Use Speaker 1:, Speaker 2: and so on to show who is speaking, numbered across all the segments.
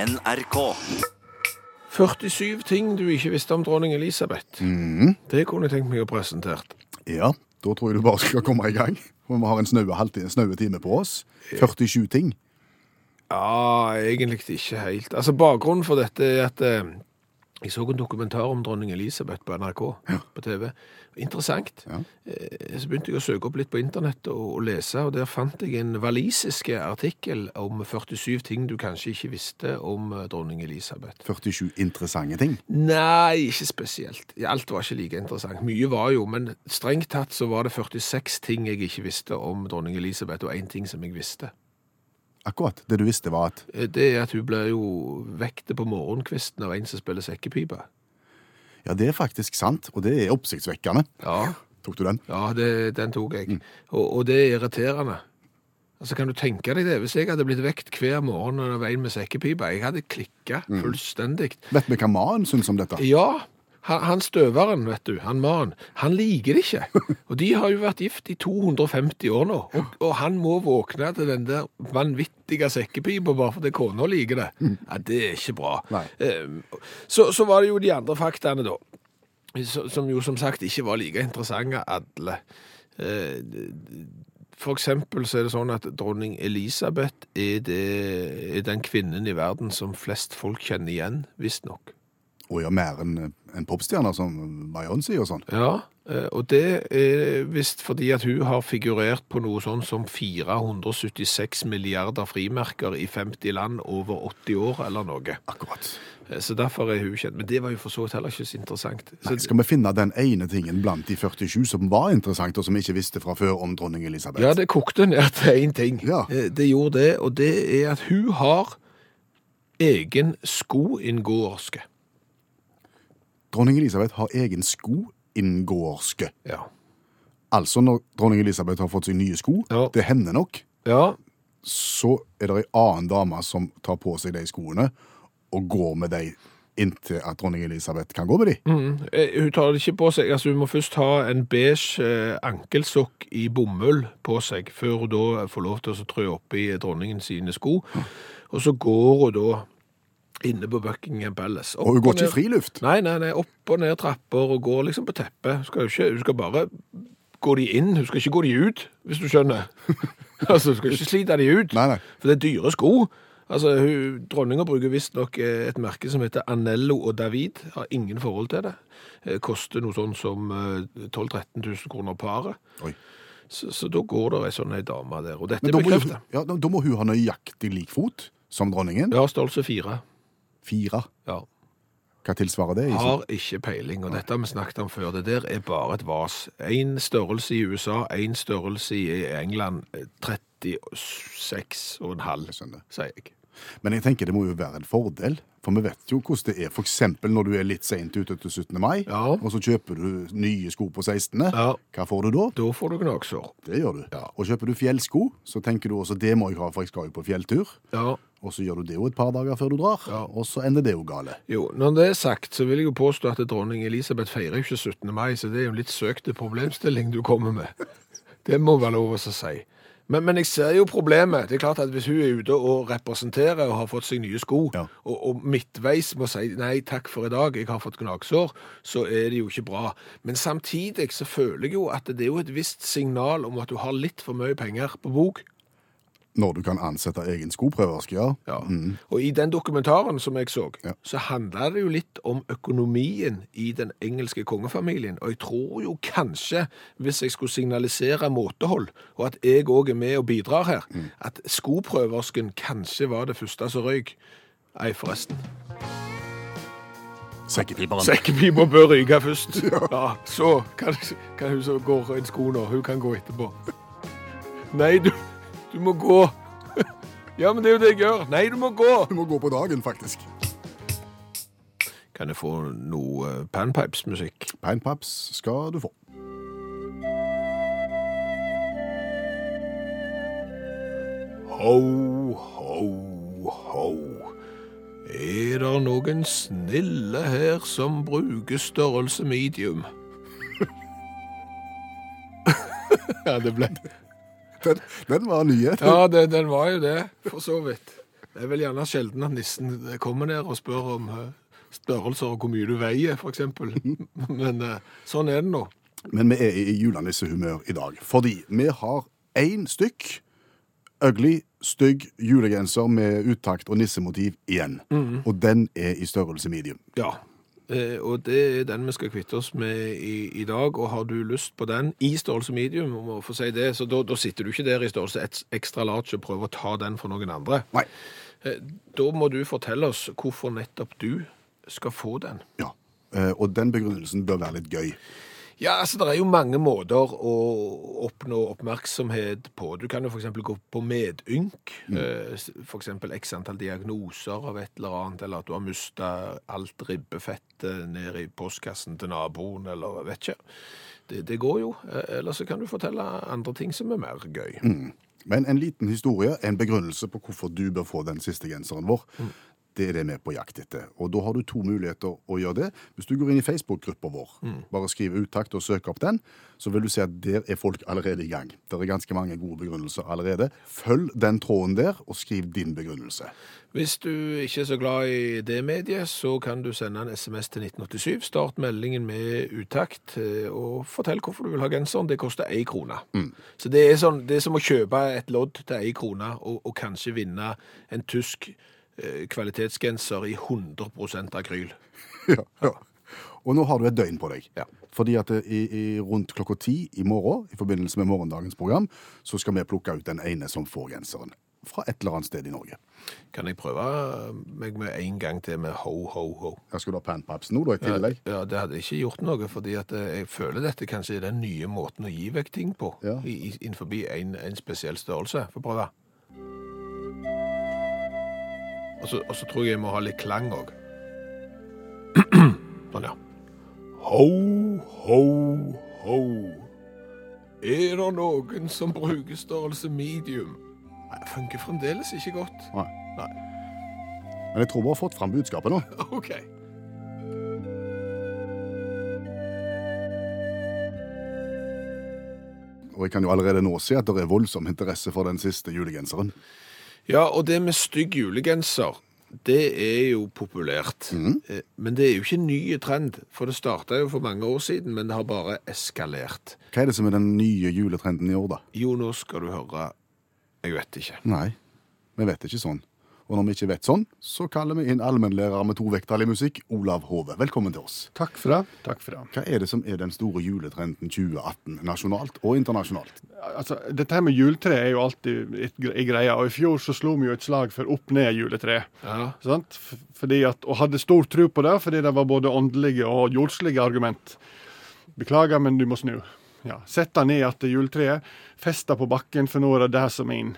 Speaker 1: NRK.
Speaker 2: 47 ting du ikke visste om dronning Elisabeth.
Speaker 3: Mm.
Speaker 2: Det kunne jeg tenkt meg å presentere.
Speaker 3: Ja, da tror jeg du bare skal komme i gang. Og vi har en snaue halvti- snaue time på oss. 47 ting.
Speaker 2: Ja, egentlig ikke helt. Altså, Bakgrunnen for dette er at eh, jeg så en dokumentar om dronning Elisabeth på NRK på TV. Interessant.
Speaker 3: Ja.
Speaker 2: Eh, Så begynte jeg å søke opp litt på internett og, og lese, og der fant jeg en walisisk artikkel om 47 ting du kanskje ikke visste om eh, dronning Elisabeth.
Speaker 3: 47 interessante ting.
Speaker 2: Nei, ikke spesielt. Alt var ikke like interessant. Mye var jo, men strengt tatt så var det 46 ting jeg ikke visste om dronning Elisabeth, og én ting som jeg visste.
Speaker 3: Akkurat. Det du visste var at
Speaker 2: Eh, Det er at hun ble jo vekte på morgenkvisten av en som spiller sekkepipe.
Speaker 3: ja, det er faktisk sant, og det er oppsiktsvekkende.
Speaker 2: Ja,
Speaker 3: Tok du den?
Speaker 2: ja det, den tok jeg. Og, og det er irriterende. Altså, Kan du tenke deg det? Hvis jeg hadde blitt vekt hver morgen av en med sekkepipe, jeg hadde klikka fullstendig.
Speaker 3: Vet vi hva mannen syns om dette?
Speaker 2: Ja, han, han støveren, vet du, han mannen, han liker det ikke. Og de har jo vært gift i 250 år nå, og, og han må våkne til den der vanvittige sekkepipa bare fordi kona liker det. Ja, det er ikke bra.
Speaker 3: Nei.
Speaker 2: Ehm, Så, så var det jo de andre faktaene da, så- som jo som sagt ikke var like interessante alle. Eh, For eksempel så er det sånn at dronning Elisabeth er, det, er den kvinnen i verden som flest folk kjenner igjen, visstnok.
Speaker 3: Å ja, mer enn en popstjerne som Beyoncé og sånn.
Speaker 2: Ja, eh, og det er visst fordi at hun har figurert på noe sånn som 476 milliarder frimerker i 50 land over 80 år eller noe.
Speaker 3: Akkurat.
Speaker 2: Eh, Så derfor er hun kjent. Men det var jo for så vidt heller ikke så interessant. Så
Speaker 3: Nei, skal vi finne den ene tingen blant de 47 som var interessant, og som vi ikke visste fra før om dronning Elisabeth?
Speaker 2: ja, det kokte ned til én ting.
Speaker 3: Ja.
Speaker 2: Eh, Det gjorde det, og det er at hun har egen skoinngåerske.
Speaker 3: Dronning Elisabeth har egen skoinngåerske.
Speaker 2: Ja.
Speaker 3: Altså, når dronning Elisabeth har fått seg nye sko,
Speaker 2: Ja.
Speaker 3: det hender nok,
Speaker 2: ja.
Speaker 3: så er det ei annen dame som tar på seg de skoene og går med de inntil at dronning Elisabeth kan gå med de.
Speaker 2: Eh, Hun tar det ikke på seg. Altså, hun må først ha en beige eh, ankelsokk i bomull på seg, før hun da får lov til å trø opp i dronningen sine sko. Og så går hun da inne på Buckingham Palace.
Speaker 3: Og hun går ikke i
Speaker 2: ned-
Speaker 3: friluft.
Speaker 2: Nei, nei, nei. Opp og ned trapper og går liksom på teppet. Hun skal, jo ikke, hun skal bare gå de inn, hun skal ikke gå de ut, hvis du skjønner. altså, hun skal ikke slite de ut.
Speaker 3: Nei, nei.
Speaker 2: For det er dyre sko. Altså, hun, dronninga bruker visstnok eh, et merke som heter Anello og David. Har ingen forhold til det. Eh, Koster noe sånn som eh, 12 000-13 000 kroner paret.
Speaker 3: Oi.
Speaker 2: Så, så da går det ei sånn ei dame der. Og dette
Speaker 3: Men da må, hun,
Speaker 2: bekrefter.
Speaker 3: ja, da, da må hun ha nøyaktig lik fot som dronningen.
Speaker 2: Det har størrelse fire.
Speaker 3: Fire.
Speaker 2: Ja.
Speaker 3: Hva tilsvarer det? i-
Speaker 2: Har ikke peiling, og dette har vi snakket om før. Det der er bare et vas. Én størrelse i USA, én størrelse i England. eh, 36,5,
Speaker 3: Jeg skjønner.
Speaker 2: sier jeg.
Speaker 3: Men jeg tenker det må jo være en fordel, for vi vet jo hvordan det er. For eksempel når du er litt sent ute til 17. mai,
Speaker 2: Ja.
Speaker 3: og så kjøper du nye sko på 16.
Speaker 2: Ja.
Speaker 3: Hva får du da?
Speaker 2: Da får du gnagsår.
Speaker 3: Det gjør du.
Speaker 2: Ja.
Speaker 3: Og kjøper du fjellsko, så tenker du også det må jeg ha, for jeg skal jo på fjelltur.
Speaker 2: Ja.
Speaker 3: Og så gjør du det jo et par dager før du drar,
Speaker 2: Ja.
Speaker 3: og så ender det jo gale.
Speaker 2: Jo, når det er sagt, så vil jeg jo påstå at dronning Elisabeth feirer jo ikke 17. mai, så det er jo en litt søkte problemstilling du kommer med. Det må være lov å si. Men, men jeg ser jo problemet. Det er klart at Hvis hun er ute og representerer og har fått seg nye sko,
Speaker 3: Ja.
Speaker 2: og, og midtveis må si nei takk for i dag, jeg har fått gnagsår, så er det jo ikke bra. Men samtidig så føler jeg jo at det er jo et visst signal om at du har litt for mye penger på bok.
Speaker 3: Når du kan ansette egen skoprøverske, ja.
Speaker 2: Ja. Og i den dokumentaren som jeg så,
Speaker 3: Mm. Ja.
Speaker 2: så handla det jo litt om økonomien i den engelske kongefamilien. Og jeg tror jo kanskje, hvis jeg skulle signalisere måtehold, og at jeg òg er med og bidrar her, at skoprøversken kanskje var det første som røyk. Nei, forresten.
Speaker 3: Sekkepiperen.
Speaker 2: Sekkepipa bør ryke først. Ja, så kan, kan hun så gå en sko nå. Hun kan gå etterpå. Nei, du, du må gå. Ja, men det er jo det jeg gjør. Nei, du må gå.
Speaker 3: Du må gå på dagen, faktisk.
Speaker 2: Kan jeg få noe eh, panpipes-musikk?
Speaker 3: Pinepaps skal du få.
Speaker 2: Ho, ho, ho. Er det noen snille her som bruker størrelse medium? ja, det ble
Speaker 3: Den, den var nye.
Speaker 2: Ja, det, den var jo det, for så vidt. Det er vel gjerne sjelden at nissen kommer ned og spør om eh, størrelser og hvor mye du veier, f.eks. Men eh, sånn er det nå.
Speaker 3: Men vi er i julenissehumør i dag, fordi vi har én stykk ugly, stygg julegenser med uttakt og nissemotiv igjen. Og den er i størrelse medium.
Speaker 2: Ja. Eh, og det er den vi skal kvitte oss med i, i dag. Og har du lyst på den i størrelse medium, om å få si det, så da, da sitter du ikke der i størrelse et- ekstra large og prøver å ta den for noen andre.
Speaker 3: Nei.
Speaker 2: Eh, da må du fortelle oss hvorfor nettopp du skal få den.
Speaker 3: Ja. Eh, Og den begrunnelsen bør være litt gøy.
Speaker 2: Ja, altså det er jo mange måter å oppnå oppmerksomhet på. Du kan jo f.eks. gå på medynk. eh, F.eks. x antall diagnoser av et eller annet, eller at du har mista alt ribbefettet ned i postkassen til naboen, eller jeg vet ikke. Det, det går jo. Eh, Eller så kan du fortelle andre ting som er mer gøy.
Speaker 3: Men en liten historie, en begrunnelse på hvorfor du bør få den siste genseren vår, det er det vi er på jakt etter. Og da har du to muligheter å gjøre det. Hvis du går inn i Facebook-gruppa vår, bare skriv uttakt og søk opp den, så vil du se at der er folk allerede i gang. Det er ganske mange gode begrunnelser allerede. Følg den tråden der, og skriv din begrunnelse.
Speaker 2: Hvis du ikke er så glad i det mediet, så kan du sende en SMS til 1987. Start meldingen med utakt, eh, og fortell hvorfor du vil ha genseren. Det koster én krone. Så det er, sånn, det er som å kjøpe et lodd til én krone, og, og kanskje vinne en tysk eh, kvalitetsgenser i 100 akryl.
Speaker 3: Ja, ja. Og nå har du et døgn på deg.
Speaker 2: Ja.
Speaker 3: Fordi at eh, i, i rundt klokka ti i morgen, i forbindelse med morgendagens program, så skal vi plukke ut den ene som får genseren. Fra et eller annet sted i Norge.
Speaker 2: Kan jeg prøve meg med en gang til med ho, ho, ho?
Speaker 3: Her skal du ha panpaps nå, da, i tillegg.
Speaker 2: Ja, Det hadde ikke gjort noe, fordi at eh, jeg føler dette kanskje er den nye måten å gi vekk ting på.
Speaker 3: Ja.
Speaker 2: I, i, innenfor en, en spesiell størrelse. Få prøve. Og så, og så tror jeg jeg må ha litt klang òg. sånn, ja. Ho, ho, ho. Er det noen som bruker størrelse medium? Nei, det funker fremdeles ikke godt.
Speaker 3: Nei.
Speaker 2: Nei.
Speaker 3: Men jeg tror vi har fått fram budskapet nå.
Speaker 2: OK.
Speaker 3: Og jeg kan jo allerede nå se at det er voldsom interesse for den siste julegenseren.
Speaker 2: Ja, og det med stygg julegenser, det er jo populært.
Speaker 1: Mm.
Speaker 2: Eh, Men det er jo ikke en ny trend, for det starta jo for mange år siden, men det har bare eskalert.
Speaker 3: Hva er det som er den nye juletrenden i år, da?
Speaker 2: Jo, nå skal du høre Jeg vet ikke.
Speaker 3: Nei, vi vet ikke sånn. Og når vi ikke vet sånn, så kaller vi inn allmennlærer med to vekttall i musikk, Olav Hove. Velkommen til oss.
Speaker 1: Takk for det. Takk for det.
Speaker 3: Hva er det som er den store juletrenden 2018, nasjonalt og internasjonalt?
Speaker 1: Altså, dette her med juletre er jo alltid et gre- en greie, og i fjor så slo vi jo et slag for opp-ned-juletre.
Speaker 2: Ja.
Speaker 1: Sant? F- Fordi at, og hadde stor tro på det, fordi det var både åndelige og jordslige argument. Beklager, men du må snu. Ja. Sett det ned at juletreet, fest det på bakken, for nå er det det som er inn.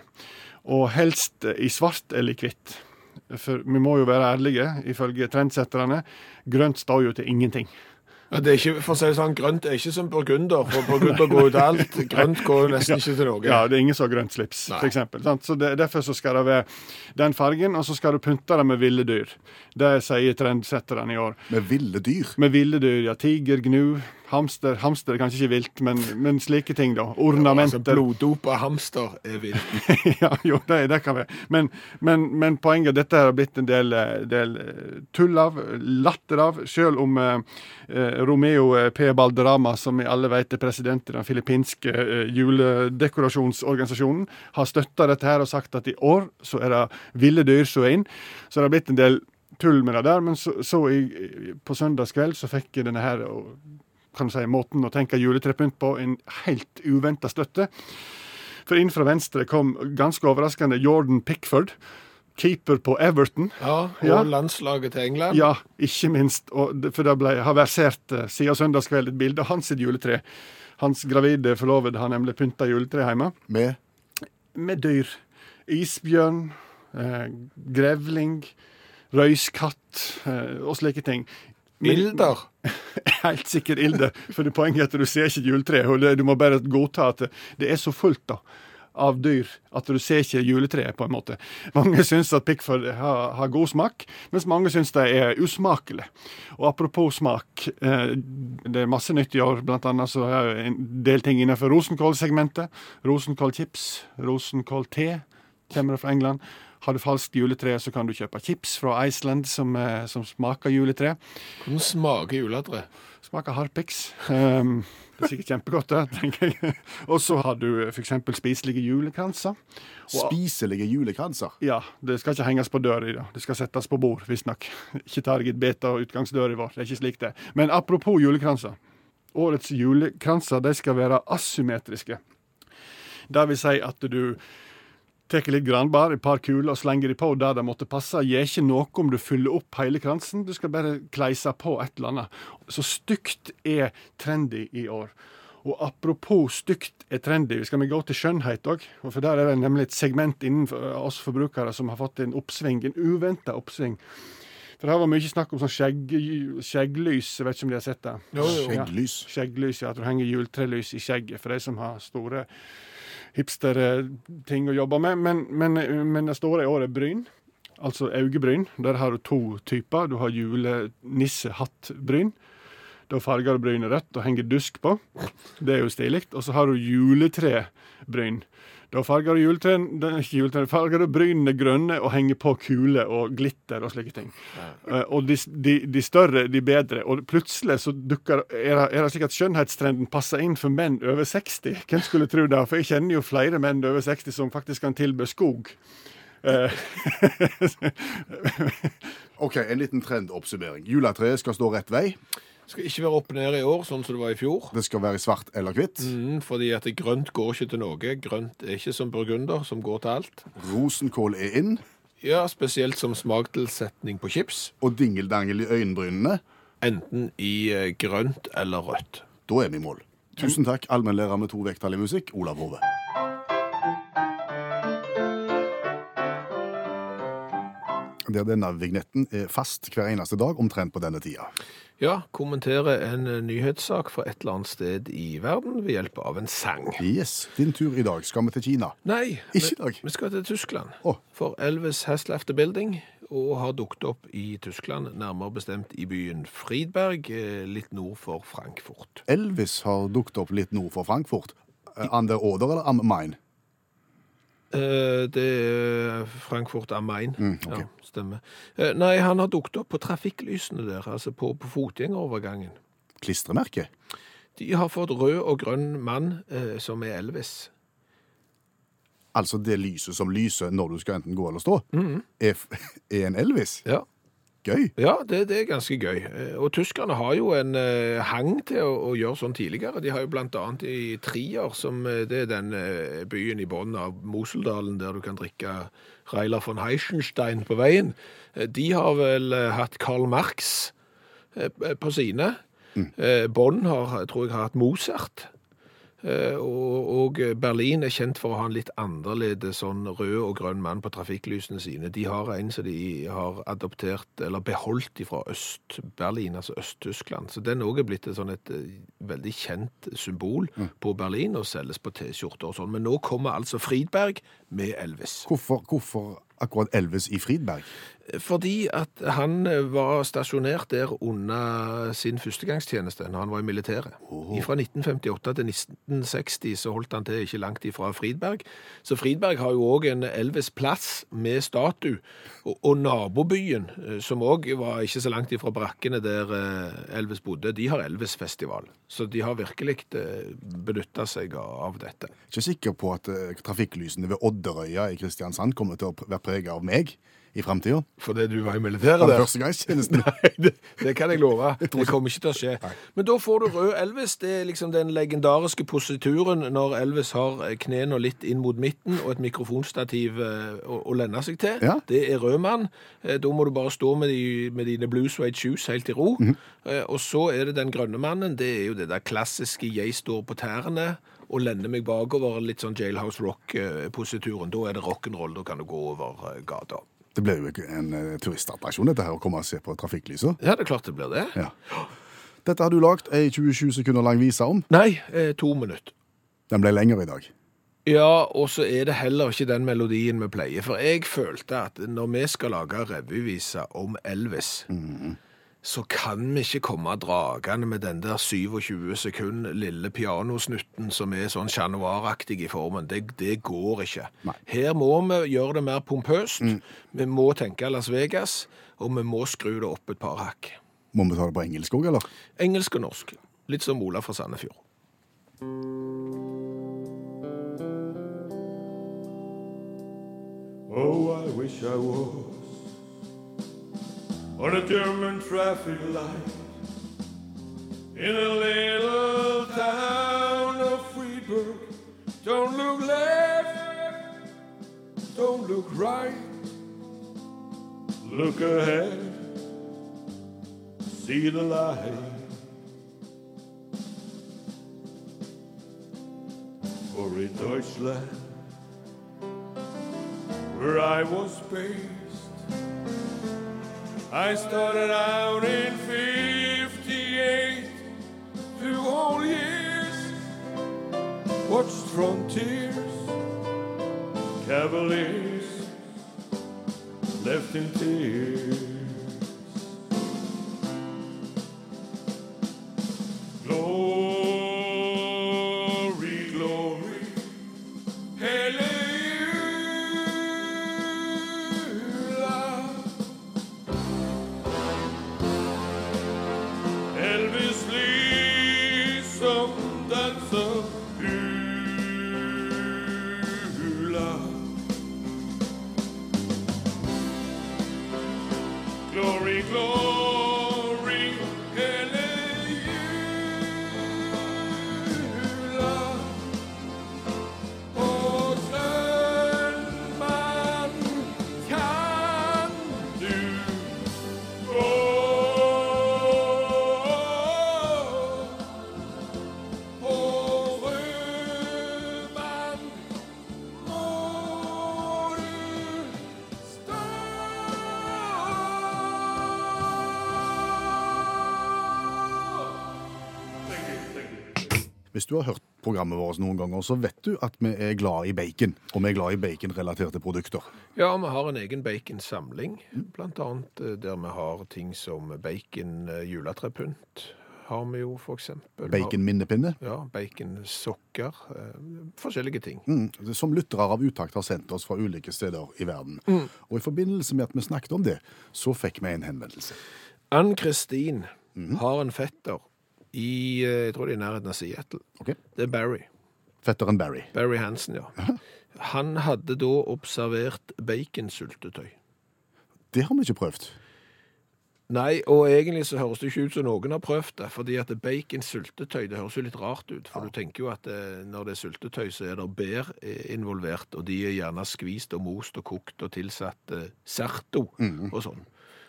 Speaker 1: Og helst i svart eller hvitt. For vi må jo være ærlige, ifølge trendsetterne. Grønt står jo til ingenting.
Speaker 2: Ja, det er ikke, for å si det sånn, Grønt er ikke som burgunder, for burgunder går jo til alt. Grønt går jo nesten ikke til noe.
Speaker 1: Ja, det er ingen som har grønt slips,
Speaker 2: Nei.
Speaker 1: for eksempel. Sant? Så det, derfor så skal det være den fargen, og så skal du pynte det med ville dyr. Det sier trendsetterne i år.
Speaker 3: Med ville dyr.
Speaker 1: Med ville dyr, ja. Tiger, gnu, hamster. Hamster er kanskje ikke vilt, men, men slike ting, da.
Speaker 2: Altså,
Speaker 1: Ornamenter.
Speaker 2: Bloddopa hamster er vilt.
Speaker 1: ja, jo, det, det kan være. Men, men, men poenget er at dette har blitt en del, eh, del eh, tull av, latter av, selv om eh, eh, Romeo eh, P. Balderama, som vi alle vet er president i den filippinske eh, juledekorasjonsorganisasjonen, har støtta dette her og sagt at i år så er det ville dyr som er inn. Så det har blitt en del tull med det der, men så, så i, i- på søndagskveld så fikk jeg denne her og, kan du si, måten å tenke juletrepynt på en helt uventa støtte. For inn fra venstre kom ganske overraskende Jordan Pickford, keeper på Everton.
Speaker 2: Ja, Og
Speaker 1: Ja.
Speaker 2: landslaget til England.
Speaker 1: Ja, ikke minst, og det- for det ble, har versert eh, siden søndagskveld et bilde av hans sitt juletre. Hans gravide forlovede har nemlig pynta juletre hjemme
Speaker 3: Med
Speaker 1: med dyr. Isbjørn, eh, grevling, røyskatt eh, og slike ting. Men-
Speaker 2: Bilder.
Speaker 1: Helt sikkert ilde. For det poenget er at du ser ikke juletreet. og det- Du må bare godta at det- det er så fullt da, av dyr at du ser ikke juletreet, på en måte. Mange syns at Pickford har, har god smak, mens mange syns det er usmakelig. Og apropos smak, eh, det er masse nytt i år. Blant annet så har jeg en del ting innenfor rosenkålsegmentet. Rosenkålchips, rosenkålte kommer det fra England. Har du falskt juletre, så kan du kjøpe chips fra Iceland som, eh, som smaker juletre.
Speaker 2: Hvordan smaker juletre?
Speaker 1: Smaker harpiks. Ehm, det er sikkert kjempegodt, det, tenker jeg. Og så har du f.eks. spiselige julekranser.
Speaker 3: Spiselige julekranser.
Speaker 1: Ja, det skal ikke henges på døra, da. det skal settes på bord, visstnok. Ikke target beta og utgangsdøra vår, det er ikke slik det. er. Men apropos julekranser. Årets julekranser de skal være asymmetriske. Det vil si at du tar litt granbar, et par kuler, og slenger de på der det måtte passe. Gjør ikke noe om du fyller opp hele kransen, du skal bare kleise på et eller annet. Så stygt er trendy i år. Og apropos stygt er trendy, skal vi gå til skjønnhet òg. For der er det nemlig et segment innenfor oss forbrukere som har fått en oppsving, en uventa oppsving. For her var mye snakk om sånn skjegg, skjegglys, jeg vet ikke om de har sett det?
Speaker 2: jo.
Speaker 1: Ja.
Speaker 3: Skjegglys.
Speaker 1: Skjegglys, ja. At du henger juletrelys i skjegget, for de som har store hipster-ting å jobbe med. Men, men, men det store i år er bryn. Altså øyebryn. Der har du to typer. Du har julenissehattbryn. Da farger du brynet rødt og henger dusk på. Det er jo stilig. Og så har du juletrebryn. Da farger du juletreen, det er ikke juletreen, farger du brynene grønne og henger på kuler og glitter og slike ting. Eh, og de, de, de større, de bedre. Og plutselig så dukker er det, er det slik at skjønnhetstrenden passer inn for menn over 60. Hvem skulle tro det? For jeg kjenner jo flere menn over 60 som faktisk kan tilby skog. Eh,
Speaker 3: OK, en liten trendoppsummering. Juletreet skal stå rett vei.
Speaker 2: Skal ikke være opp ned i år, sånn som det var i fjor.
Speaker 3: Det skal være i svart eller hvitt.
Speaker 2: Mm, fordi at grønt går ikke til noe. Grønt er ikke som burgunder, som går til alt.
Speaker 3: Rosenkål er inn.
Speaker 2: Ja, spesielt som smaktilsetning på chips.
Speaker 3: Og dingeldangel i øyenbrynene.
Speaker 2: Enten i eh, grønt eller rødt.
Speaker 3: Da er vi i mål. Tusen takk, allmennlærer med to vekttall i musikk, Olav Hove. Der denne vignetten er fast hver eneste dag, omtrent på denne tida.
Speaker 2: Ja, kommentere en eh, nyhetssak fra et eller annet sted i verden ved hjelp av en sang.
Speaker 3: Yes, din tur i dag. Skal vi til Kina?
Speaker 2: Nei,
Speaker 3: Ikke i
Speaker 2: vi-
Speaker 3: dag.
Speaker 2: vi skal til Tyskland.
Speaker 3: Å.
Speaker 2: For Elvis has left the building og har dukt opp i Tyskland, nærmere bestemt i byen Friedberg, eh, litt nord for Frankfurt.
Speaker 3: Elvis har dukket opp litt nord for Frankfurt. Eh, An der Oder eller Am Main?
Speaker 2: Eh, Det er Frankfurt am Main.
Speaker 3: ok.
Speaker 2: Ja, stemmer. Eh, Nei, han har dukt opp på trafikklysene der, altså på, på fotgjengerovergangen.
Speaker 3: Klistremerke?
Speaker 2: De har fått rød og grønn mann eh, som er Elvis.
Speaker 3: Altså det lyset som lyser når du skal enten gå eller stå, er, f- er en Elvis.
Speaker 2: Ja,
Speaker 3: Gøy.
Speaker 2: Ja, det, det er ganske gøy. Eh, Og tyskerne har jo en eh, hang til å, å gjøre sånn tidligere. De har jo blant annet i Trier, som eh, det er den eh, byen i bunnen av Moseldalen der du kan drikke Reiler von Heichenstein på veien. Eh, De har vel eh, hatt Karl Marx eh, på sine. Eh, Bonn har, tror jeg, har hatt Mozart. Eh, Og, og Berlin er kjent for å ha en litt annerledes sånn rød og grønn mann på trafikklysene sine. De har en som de har adoptert, eller beholdt fra Øst-Berlin, altså Øst-Tyskland. Så den òg er blitt et, sånn et eh, veldig kjent symbol på Berlin, og selges på T-skjorter og sånn. Men nå kommer altså Friedberg med Elvis.
Speaker 3: Hvorfor, hvorfor akkurat Elvis i Fridberg?
Speaker 2: Fordi at han eh, var stasjonert der under sin førstegangstjeneste når han var i militæret. Fra 1958 til 1960 så holdt han til ikke langt ifra Fridberg. Så Fridberg har jo òg en Elvis-plass med statue. Og, og nabobyen, eh, som òg var ikke så langt ifra brakkene der eh, Elvis bodde, de har Elvis-festival. Så de har virkelig benytta seg av dette.
Speaker 3: Ikke sikker på at eh, trafikklysene ved Odderøya i Kristiansand kommer til å p- være preget av meg i framtida.
Speaker 2: Fordi du var i militæret
Speaker 3: Den første gangstjenesten.
Speaker 2: Nei, det, det kan jeg love. Det kommer ikke til å skje. Men da får du rød Elvis. Det er liksom den legendariske posituren når Elvis har knærne litt inn mot midten og et mikrofonstativ eh, å, å lenne seg til.
Speaker 3: Ja.
Speaker 2: Det er rød mann. Eh, Da må du bare stå med, de, med dine blue suede shoes helt i ro. Eh, Og så er det den grønne mannen. Det er jo det der klassiske 'jeg står på tærne'. Og lender meg bakover, litt sånn Jailhouse Rock-posituren. Da er det rock'n'roll. Da kan du gå over eh, gata.
Speaker 3: Det blir jo ikke en eh, turistattraksjon, dette her, å komme og se på trafikklysa.
Speaker 2: Ja, det er klart det blir det.
Speaker 3: Ja. Dette har du lagd ei 27 sekunder lang vise om.
Speaker 2: Nei, eh, to minutter.
Speaker 3: Den ble lengre i dag.
Speaker 2: Ja, og så er det heller ikke den melodien vi pleier. For jeg følte at når vi skal lage revyviser om Elvis, så kan vi ikke komme dragende med den der 27 sekund lille pianosnutten som er sånn Chat Noir-aktig i formen. Det, det går ikke.
Speaker 3: Nei.
Speaker 2: Her må vi gjøre det mer pompøst. Vi må tenke Las Vegas, og vi må skru det opp et par hakk.
Speaker 3: Må vi ta det på engelsk òg, eller?
Speaker 2: Engelsk og norsk. Litt som Ola fra Sandefjord.
Speaker 4: Oh, I wish I was on a German traffic light in a little town of Friedberg. Don't look left, don't look right, look ahead, see the light. For in Deutschland, where I was based. I started out in 58, two whole years, watched frontiers, cavaliers, left in tears. Glory, glory, Hallelujah. Elvis liksom danser hula. Glory, glory, hallelujah. Åsnenmann, kan du gå? Hårømann, må du stå?
Speaker 3: Hvis du har hørt programmet vårt noen ganger, så vet du at vi er glad i bacon. Og vi er glad i baconrelaterte produkter.
Speaker 2: Ja, vi har en egen baconsamling, blant annet eh, der vi har ting som bacon eh, juletrepynt, har vi jo for eksempel.
Speaker 3: Baconminnepinne.
Speaker 2: Ja, baconsokker, eh, forskjellige ting.
Speaker 3: Mm, som lyttere av Utakt har sendt oss fra ulike steder i verden. Og i forbindelse med at vi snakket om det, så fikk vi en henvendelse.
Speaker 2: Ann-Kristin har en fetter i, eh, jeg tror det er i nærheten av Seattle.
Speaker 3: Ok?
Speaker 2: Det er Barry.
Speaker 3: Fetteren Barry.
Speaker 2: Barry Hansen, ja. Han hadde da observert baconsyltetøy.
Speaker 3: Det har vi ikke prøvd.
Speaker 2: Nei, og egentlig så høres det ikke ut som noen har prøvd det, fordi at bacon-syltetøy, det høres jo litt rart ut, for du tenker jo at eh, når det er syltetøy, så er det bær eh, involvert, og de er gjerne skvist og most og kokt og tilsatt eh, serto og sånn.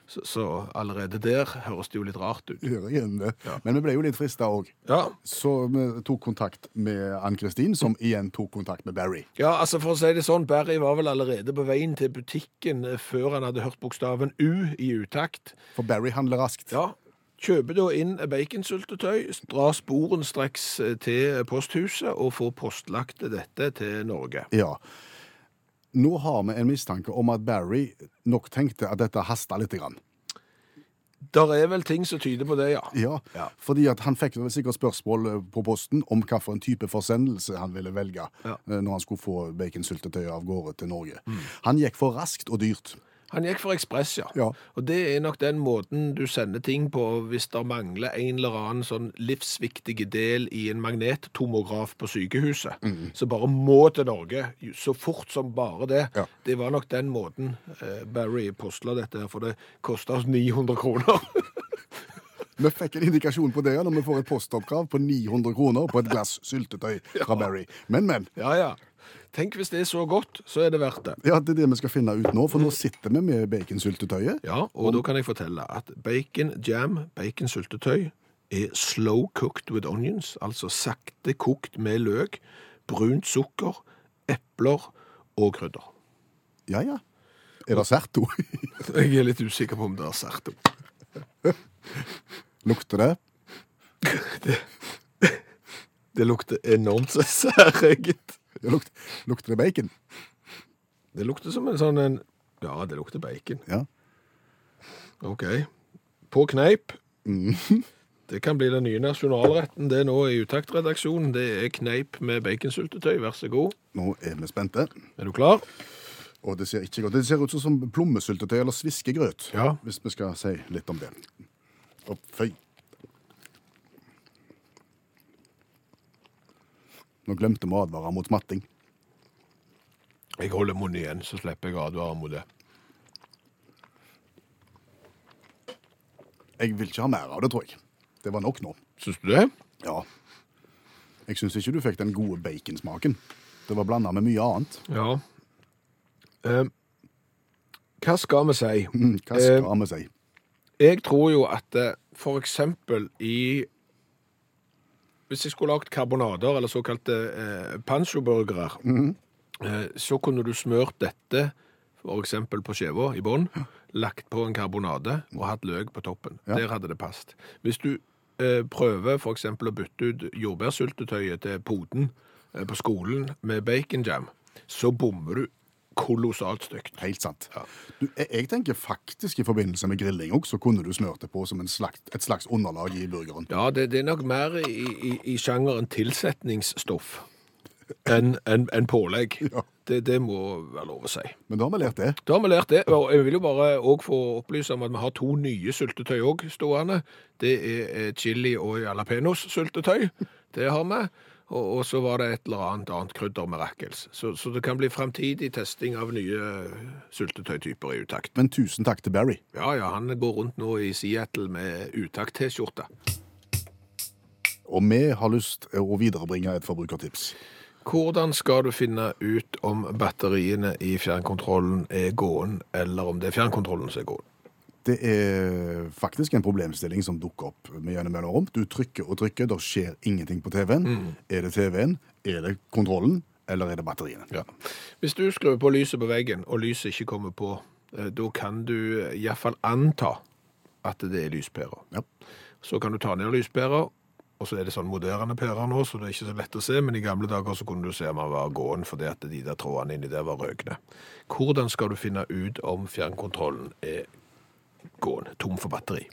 Speaker 2: Så, så allerede der høres det jo litt rart ut.
Speaker 3: Hører igjen det. Men vi ble jo litt frista òg.
Speaker 2: Ja,
Speaker 3: Så vi tok kontakt med Ann-Kristin, som igjen tok kontakt med Barry.
Speaker 2: ja, altså for å si det sånn, Barry var vel allerede på veien til butikken eh, før han hadde hørt bokstaven U i utakt,
Speaker 3: For Barry handler raskt.
Speaker 2: Ja. Kjøper da inn baconsyltetøy, drar sporen streks til posthuset og får postlagt dette til Norge.
Speaker 3: Ja. Nå har vi en mistanke om at Barry nok tenkte at dette hasta litt. Grann.
Speaker 2: Der er vel ting som tyder på det, ja.
Speaker 3: Ja, Fordi at han fikk vel sikkert spørsmål eh, på posten om hvilken type forsendelse han ville velge
Speaker 2: Ja.
Speaker 3: eh, når han skulle få baconsyltetøy av gårde til Norge. Han gikk for raskt og dyrt.
Speaker 2: Han gikk for ekspress, ja.
Speaker 3: Ja.
Speaker 2: Og det er nok den måten du sender ting på hvis det mangler en eller annen sånn livsviktige del i en magnettomograf på sykehuset.
Speaker 3: Mm.
Speaker 2: Så bare må til Norge så fort som bare det.
Speaker 3: Ja.
Speaker 2: Det var nok den måten eh, Barry postla dette, her, for det kosta oss 900 kroner.
Speaker 3: Vi fikk en indikasjon på det ja, når vi får et postoppkrav på 900 kroner på et glass syltetøy fra Barry. Men, men.
Speaker 2: Ja, ja. Tenk hvis det er så godt, så er det verdt det.
Speaker 3: Ja, Det er det vi skal finne ut nå, for nå sitter vi med baconsyltetøyet.
Speaker 2: Ja, og da kan jeg fortelle at bacon jam, bacon syltetøy, er slow cooked with onions, altså sakte kokt med løk, brunt sukker, epler og krydder.
Speaker 3: Ja, ja. Er det serto?
Speaker 2: Jeg er litt usikker på om det er serto.
Speaker 3: Lukter det?
Speaker 2: Det lukter enormt særeget.
Speaker 3: Ja, lukt, lukter det bacon?
Speaker 2: Det lukter som en sånn en Ja, det lukter bacon.
Speaker 3: Ja.
Speaker 2: OK. på kneip. Det kan bli den nye nasjonalretten. Det er nå i Utakt-redaksjonen. Det er kneip med baconsyltetøy. Vær så god.
Speaker 3: Nå er vi spente,
Speaker 2: Er du klar?
Speaker 3: og det ser ikke godt Det ser ut som plommesyltetøy eller sviskegrøt,
Speaker 2: Ja.
Speaker 3: hvis vi skal si litt om det. Å, fy. Nå glemte vi å advare mot smatting.
Speaker 2: Jeg holder munnen igjen, så slipper jeg å advare mot det.
Speaker 3: Jeg vil ikke ha mer av det, tror jeg. Det var nok nå.
Speaker 2: Syns du det?
Speaker 3: Ja. Jeg syns ikke du fikk den gode baconsmaken. Det var blanda med mye annet.
Speaker 2: Ja. Eh, hva skal vi si?
Speaker 3: Mm, Hva
Speaker 2: Eh,
Speaker 3: skal vi si?
Speaker 2: Jeg tror jo at eh, for eksempel i Hvis jeg skulle lagd karbonader, eller såkalte eh, panchoburgere, eh, så kunne du smørt dette for eksempel på skiva i bånn, lagt på en karbonade og hatt løk på toppen.
Speaker 3: Ja.
Speaker 2: Der hadde det passet. Hvis du eh, prøver for eksempel å bytte ut jordbærsyltetøyet til poden eh, på skolen med baconjam, så bommer du kolossalt stygt.
Speaker 3: Helt sant. Du, jeg, jeg tenker faktisk i forbindelse med grilling også, så kunne du smørt det på som en slags, et slags underlag i burgeren.
Speaker 2: Ja, det, det er nok mer i, i, i sjangeren tilsetningsstoff enn enn- enn pålegg.
Speaker 3: Ja.
Speaker 2: Det, det må være lov å si.
Speaker 3: Men da har vi lært det.
Speaker 2: Da har vi lært det, og jeg vil jo bare òg få opplyse om at vi har to nye syltetøy òg stående. Det er eh, chili og jalapeños-syltetøy. Det har vi. Og, og så var det et eller annet annet krydder med rakkels. Så, så det kan bli framtidig testing av nye syltetøytyper i utakt.
Speaker 3: Men tusen takk til Barry.
Speaker 2: Ja ja, han går rundt nå i Seattle med utakt-T-skjorte.
Speaker 3: Og vi har lyst til å viderebringe et forbrukertips.
Speaker 2: Hvordan skal du finne ut om batteriene i fjernkontrollen er gåen, eller om det er fjernkontrollen som er gåen?
Speaker 3: Det er faktisk en problemstilling som dukker opp med gjennom mellomrom. Du trykker og trykker, det skjer ingenting på TV-en. Er det TV-en, er det kontrollen, eller er det batteriene?
Speaker 2: Hvis du skrur på lyset på veggen, og lyset ikke kommer på, eh, da kan du iallfall anta at det er lyspæra.
Speaker 3: Ja.
Speaker 2: Så kan du ta ned lyspæra, og så er det sånn moderne pærer nå, så det er ikke så lett å se, men i gamle dager så kunne du se om han var gåen fordi at de der trådene inni der var røkne. Hvordan skal du finne ut om fjernkontrollen er gåen, tom for batteri?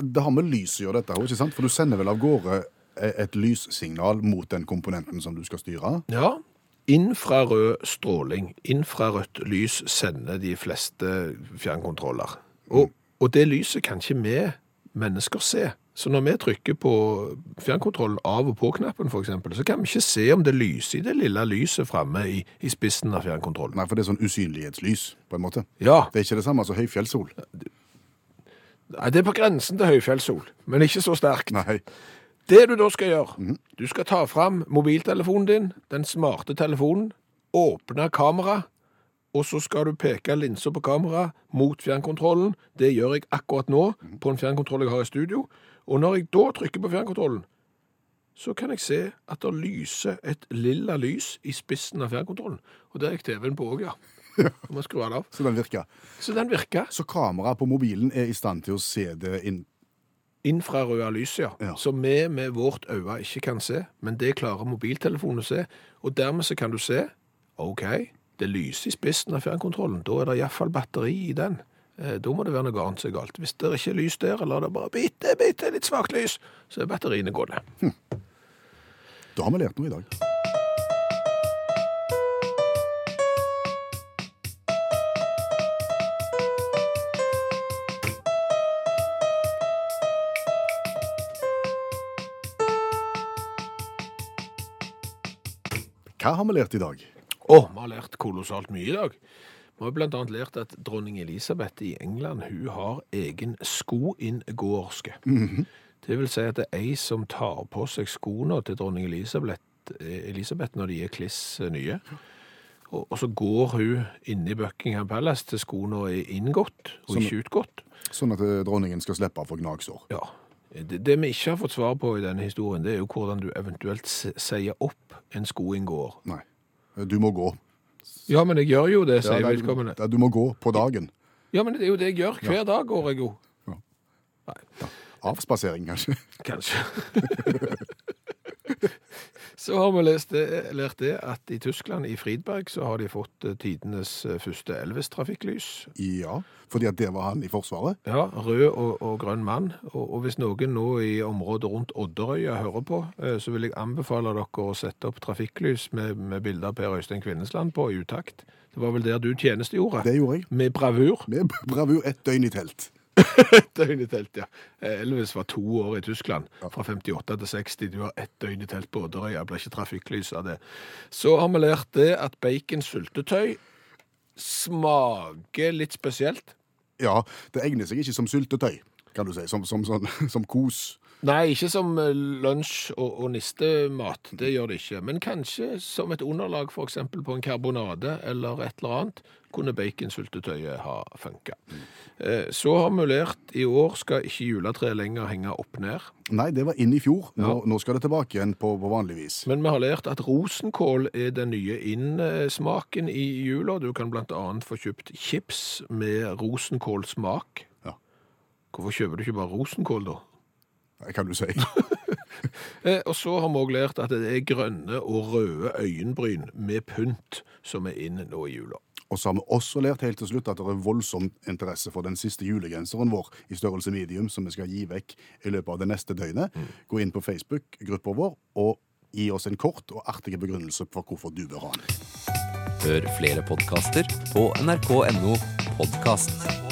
Speaker 3: Det har med lys å gjøre, dette, også, ikke sant? For du sender vel av gårde e- et lyssignal mot den komponenten som du skal styre.
Speaker 2: Ja. Infrarød stråling, infrarødt lys, sender de fleste fjernkontroller. Og, og det lyset kan ikke vi mennesker se. Så når vi trykker på fjernkontrollen av- og på-knappen, f.eks., så kan vi ikke se om det lyser i det lille lyset framme i, i spissen av fjernkontrollen.
Speaker 3: Nei, for det er sånn usynlighetslys, på en måte.
Speaker 2: Ja,
Speaker 3: Det er ikke det samme som høyfjellssol.
Speaker 2: nei, det er på grensen til høyfjellssol, men ikke så sterkt.
Speaker 3: Nei.
Speaker 2: Det du da skal gjøre, du skal ta fram mobiltelefonen din, den smarte telefonen, åpne kamera, og så skal du peke linser på kamera mot fjernkontrollen. Det gjør jeg akkurat nå på en fjernkontroll jeg har i studio. Og når jeg da trykker på fjernkontrollen, så kan jeg se at det lyser et lilla lys i spissen av fjernkontrollen. Og der gikk TV-en på òg, ja. Jeg må skru den av.
Speaker 3: Så den virker.
Speaker 2: Så den virker.
Speaker 3: Så kameraet på mobilen er i stand til å se det inn.
Speaker 2: infrarøde lys, ja.
Speaker 3: Ja.
Speaker 2: Som vi med vårt øye ikke kan se, men det klarer mobiltelefonen å se. Og dermed så kan du se OK, det lyser i spissen av fjernkontrollen. Da er det iallfall batteri i den. Eh, Da må det være noe annet som er galt. Hvis det ikke er lys der, eller det er bare bitte, bitte litt svakt lys, så er batteriene gående.
Speaker 3: Da har vi lært noe i dag. Hva har vi lært i dag?
Speaker 2: Å, vi har lært kolossalt mye i dag. Vi har blant annet lært at dronning Elisabeth i England, hun har egen skoinngåerske. Mhm. Det vil si at det er ei som tar på seg skoene til dronning Elisabeth, eh, Elisabeth når de er kliss eh, nye. Og, og så går hun inne i Buckingham Palace til skoene er inngått og
Speaker 3: Som-
Speaker 2: ikke utgått.
Speaker 3: Sånn at eh, dronningen skal slippe å få gnagsår.
Speaker 2: Ja. Det, det vi ikke har fått svar på i denne historien, det er jo hvordan du eventuelt se- sier opp en skoinngåer.
Speaker 3: Nei. Eh, Du må gå.
Speaker 2: Ja, men jeg gjør jo det, sier
Speaker 3: Ja, nei, du,
Speaker 2: vedkommende.
Speaker 3: ja, du må gå på dagen.
Speaker 2: Ja, men det er jo det jeg gjør. Hver dag går jeg jo.
Speaker 3: Avspasering, kanskje.
Speaker 2: Kanskje. Så har vi lest det, lært det at i Tyskland, i Fridberg, så har de fått eh, tidenes eh, første Elvis-trafikklys.
Speaker 3: Ja, fordi at der var han i Forsvaret.
Speaker 2: Ja, rød og, og grønn mann. Og, og hvis noen nå i området rundt Odderøya hører på, eh, så vil jeg anbefale dere å sette opp trafikklys med, med bilder av Per Øystein Kvinnesland på i utakt. Det var vel der du tjenestegjorde?
Speaker 3: Det gjorde jeg.
Speaker 2: Med bravur.
Speaker 3: Med bravur ett døgn i telt.
Speaker 2: Døgn i telt, ja. Eh, Elvis var to år i Tyskland, fra 58 til 60. Du har ett døgn i telt på Odderøya, blir ikke trafikklys av det. Så har vi lært det at baconsyltetøy smaker litt spesielt.
Speaker 3: Ja, det egner seg ikke som syltetøy, kan du si. Som, som, sånn- som kos.
Speaker 2: Nei, ikke som eh, lunsj og, og nistemat, det gjør det ikke. Men kanskje som et underlag for eksempel på en karbonade eller et eller annet, kunne baconsyltetøyet ha funka. Eh, Så har vi lært i år skal ikke juletreet lenger henge opp ned.
Speaker 3: Nei, det var inn i fjor. Nå, nå skal det tilbake igjen på, på vanlig vis.
Speaker 2: Men vi har lært at rosenkål er den nye innsmaken i jula. Du kan blant annet få kjøpt chips med rosenkålsmak.
Speaker 3: Ja.
Speaker 2: Hvorfor kjøper du ikke bare rosenkål, da?
Speaker 3: Kan du si.
Speaker 2: Eh, Og så har vi òg lært at det er grønne og røde øyenbryn med pynt som er inn nå i jula.
Speaker 3: Og så har vi også lært helt til slutt at det er voldsom interesse for den siste julegenseren vår i størrelse medium, som vi skal gi vekk i løpet av det neste døgnet. Gå inn på Facebook-gruppa vår og gi oss en kort og artig begrunnelse for hvorfor du bør ha den.
Speaker 5: Hør flere podkaster på nrk.no podkast.